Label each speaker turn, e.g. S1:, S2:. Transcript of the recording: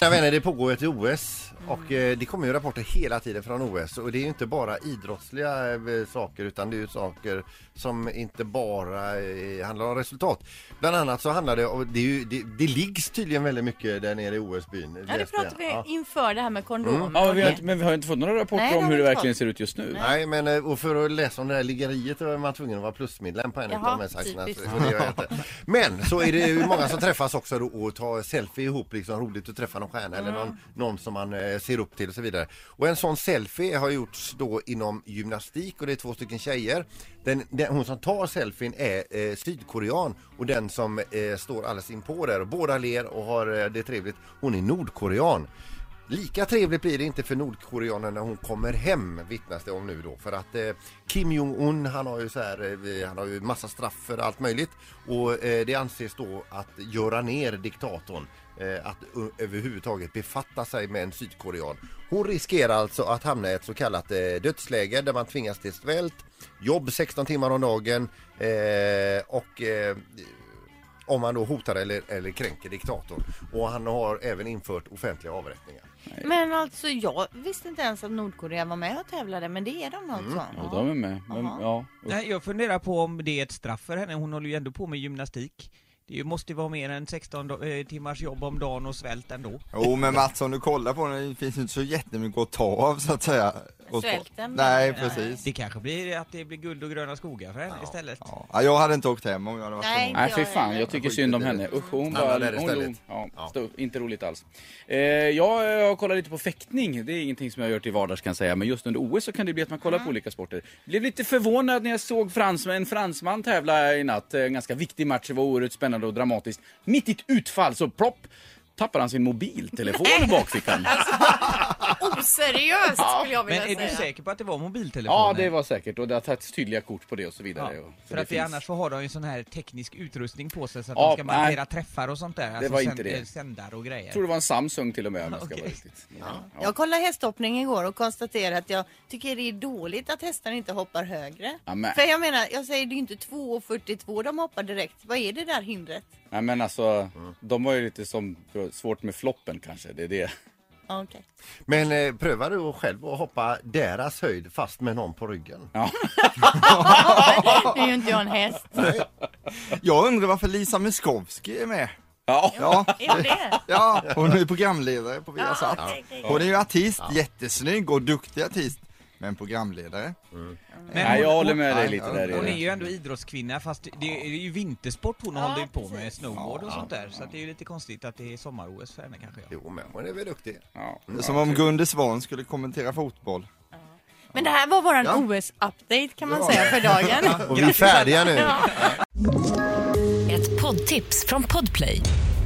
S1: Mina vänner, det pågår ett OS och eh, det kommer ju rapporter hela tiden från OS och det är ju inte bara idrottsliga eh, saker utan det är ju saker som inte bara eh, handlar om resultat. Bland annat så handlar det om, det, är ju, det, det liggs tydligen väldigt mycket där nere i E OS-byn.
S2: Ja, det
S1: läste jag.
S2: pratade vi
S1: Ja.
S2: inför det här med kondom.
S3: Mm. Ja, men vi har inte, men vi har inte fått några rapporter
S2: Nej, det
S3: om
S2: har
S3: hur
S2: vi
S3: det
S2: inte
S3: verkligen
S2: fått.
S3: ser ut just nu.
S1: Nej, men eh, och för att läsa om det här liggeriet var man tvungen att vara plusmedlem på en
S2: Jaha,
S1: utav de här sajterna.
S2: typiskt.
S1: Så det gör jag inte. Men så är det ju många som träffas också då och tar selfie ihop, liksom roligt att träffa någon stjärna eller
S2: Mm.
S1: någon, någon som man eh, ser upp till och så vidare. Och en sån selfie har gjorts då inom gymnastik och det är två stycken tjejer. Den, den, hon som tar selfien är eh, sydkorean och den som eh, står alldeles inpå där och båda ler och har eh, det trevligt, hon är nordkorean. Lika trevligt blir det inte för Nordkoreanen när hon kommer hem vittnas det om nu då för att eh, Kim Jong-Un han har ju så här, eh, han har ju massa straff för allt möjligt och eh, det anses då att göra ner diktatorn eh, att ö- överhuvudtaget befatta sig med en sydkorean. Hon riskerar alltså att hamna i ett så kallat eh, dödsläge där man tvingas till svält, jobb 16 timmar om dagen eh, och eh, om man då hotar eller, eller kränker diktatorn. Och han har även infört offentliga avrättningar.
S2: Men alltså jag visste inte ens att Nordkorea var med och tävlade men det är de alltså.
S3: Ja, de är med. Men,
S2: Jaha.
S3: ja.
S4: Nej, jag funderar på om det är ett straff för henne, hon håller ju ändå på med gymnastik. Det ju- måste ju vara mer än 16 do- eh, timmars jobb om dagen och svält ändå.
S5: Jo men Mats om du kollar på den, det finns ju inte så jättemycket att ta av så att säga. Och-
S2: Svälten.
S5: Nej precis.
S4: Det kanske blir att det blir guld och gröna skogar för henne istället.
S5: Ja, jag hade inte åkt hem om jag hade varit
S2: Nej.
S5: Nej.
S3: Nej
S2: Jag
S3: fy
S2: är
S3: fan,
S2: med.
S3: jag tycker synd om
S5: Skit i
S3: henne.
S5: det.
S3: Usch, hon
S1: Stanna
S3: bara...
S1: där
S3: hon
S1: istället.
S3: låg- Ja,
S1: Ja.
S3: stå- inte roligt alls. Eh, jag har kollat lite på fäktning. Det är ingenting som jag har gjort i vardags kan jag säga. Men just under OS så kan det bli att man kollar på olika sporter. Blev lite förvånad när jag såg fransmän, en fransman tävla i natt. Eh, En ganska viktig match. Det var oerhört spännande och dramatiskt. Mitt i ett utfall så plopp tappar han sin mobiltelefon i bakfickan.
S2: Oseriöst skulle jag
S4: Men
S2: vilja
S4: är du
S2: säga.
S4: säker på att det var mobiltelefonen?
S3: Ja, det var säkert. Och det har tagits tydliga kort på det och så vidare.
S4: Ja,
S3: Och-
S4: för att det
S3: finns.
S4: annars så har de ju en sån här teknisk utrustning på sig så att
S3: Ja,
S4: de ska
S3: nej.
S4: markera träffar och sånt där. Det
S3: var inte det.
S4: Sändare och grejer.
S3: Jag tror det var en Samsung till och med om jag ska
S4: Okej.
S3: vara riktigt. Ja.
S2: Jag kollade hästhoppning igår och konstaterade att jag tycker det är dåligt att hästarna inte hoppar högre.
S3: Amen.
S2: För jag menar, jag säger det är ju inte 2,42 de hoppar direkt. Vad är det där hindret?
S3: Nej men alltså, de var ju lite som, svårt med floppen kanske, det är det.
S2: Ja, Okej.
S1: Men eh, prövar du själv att hoppa deras höjd fast med någon på ryggen?
S2: Nu är ju inte jag en häst.
S5: Jag undrar varför Lisa Miskovsky är med?
S3: Ja,
S5: Ja,
S2: Är jag det?
S5: ja hon är ju programledare på Viasat.
S2: Ja, okej, okej.
S5: Hon är ju artist, jättesnygg och duktig artist. Men programledare?
S4: Men
S3: Nej, jag
S4: hon-
S3: håller med dig
S5: Ja,
S3: lite
S5: ja,
S3: där.
S4: Hon är
S3: Erik.
S4: ju ändå idrottskvinna fast det är ju vintersport hon håller ju på med,
S2: precis.
S4: snowboard och sånt där. Så att det är ju lite konstigt att det är sommar-OS för henne kanske. Ja.
S1: Jo, men hon är väl duktig.
S3: Ja.
S5: Som om Gunde Svan skulle kommentera fotboll.
S2: Men det här var våran
S5: Ja.
S2: OS-update kan man säga för dagen.
S1: Och vi är färdiga nu.
S6: Ett poddtips från Podplay.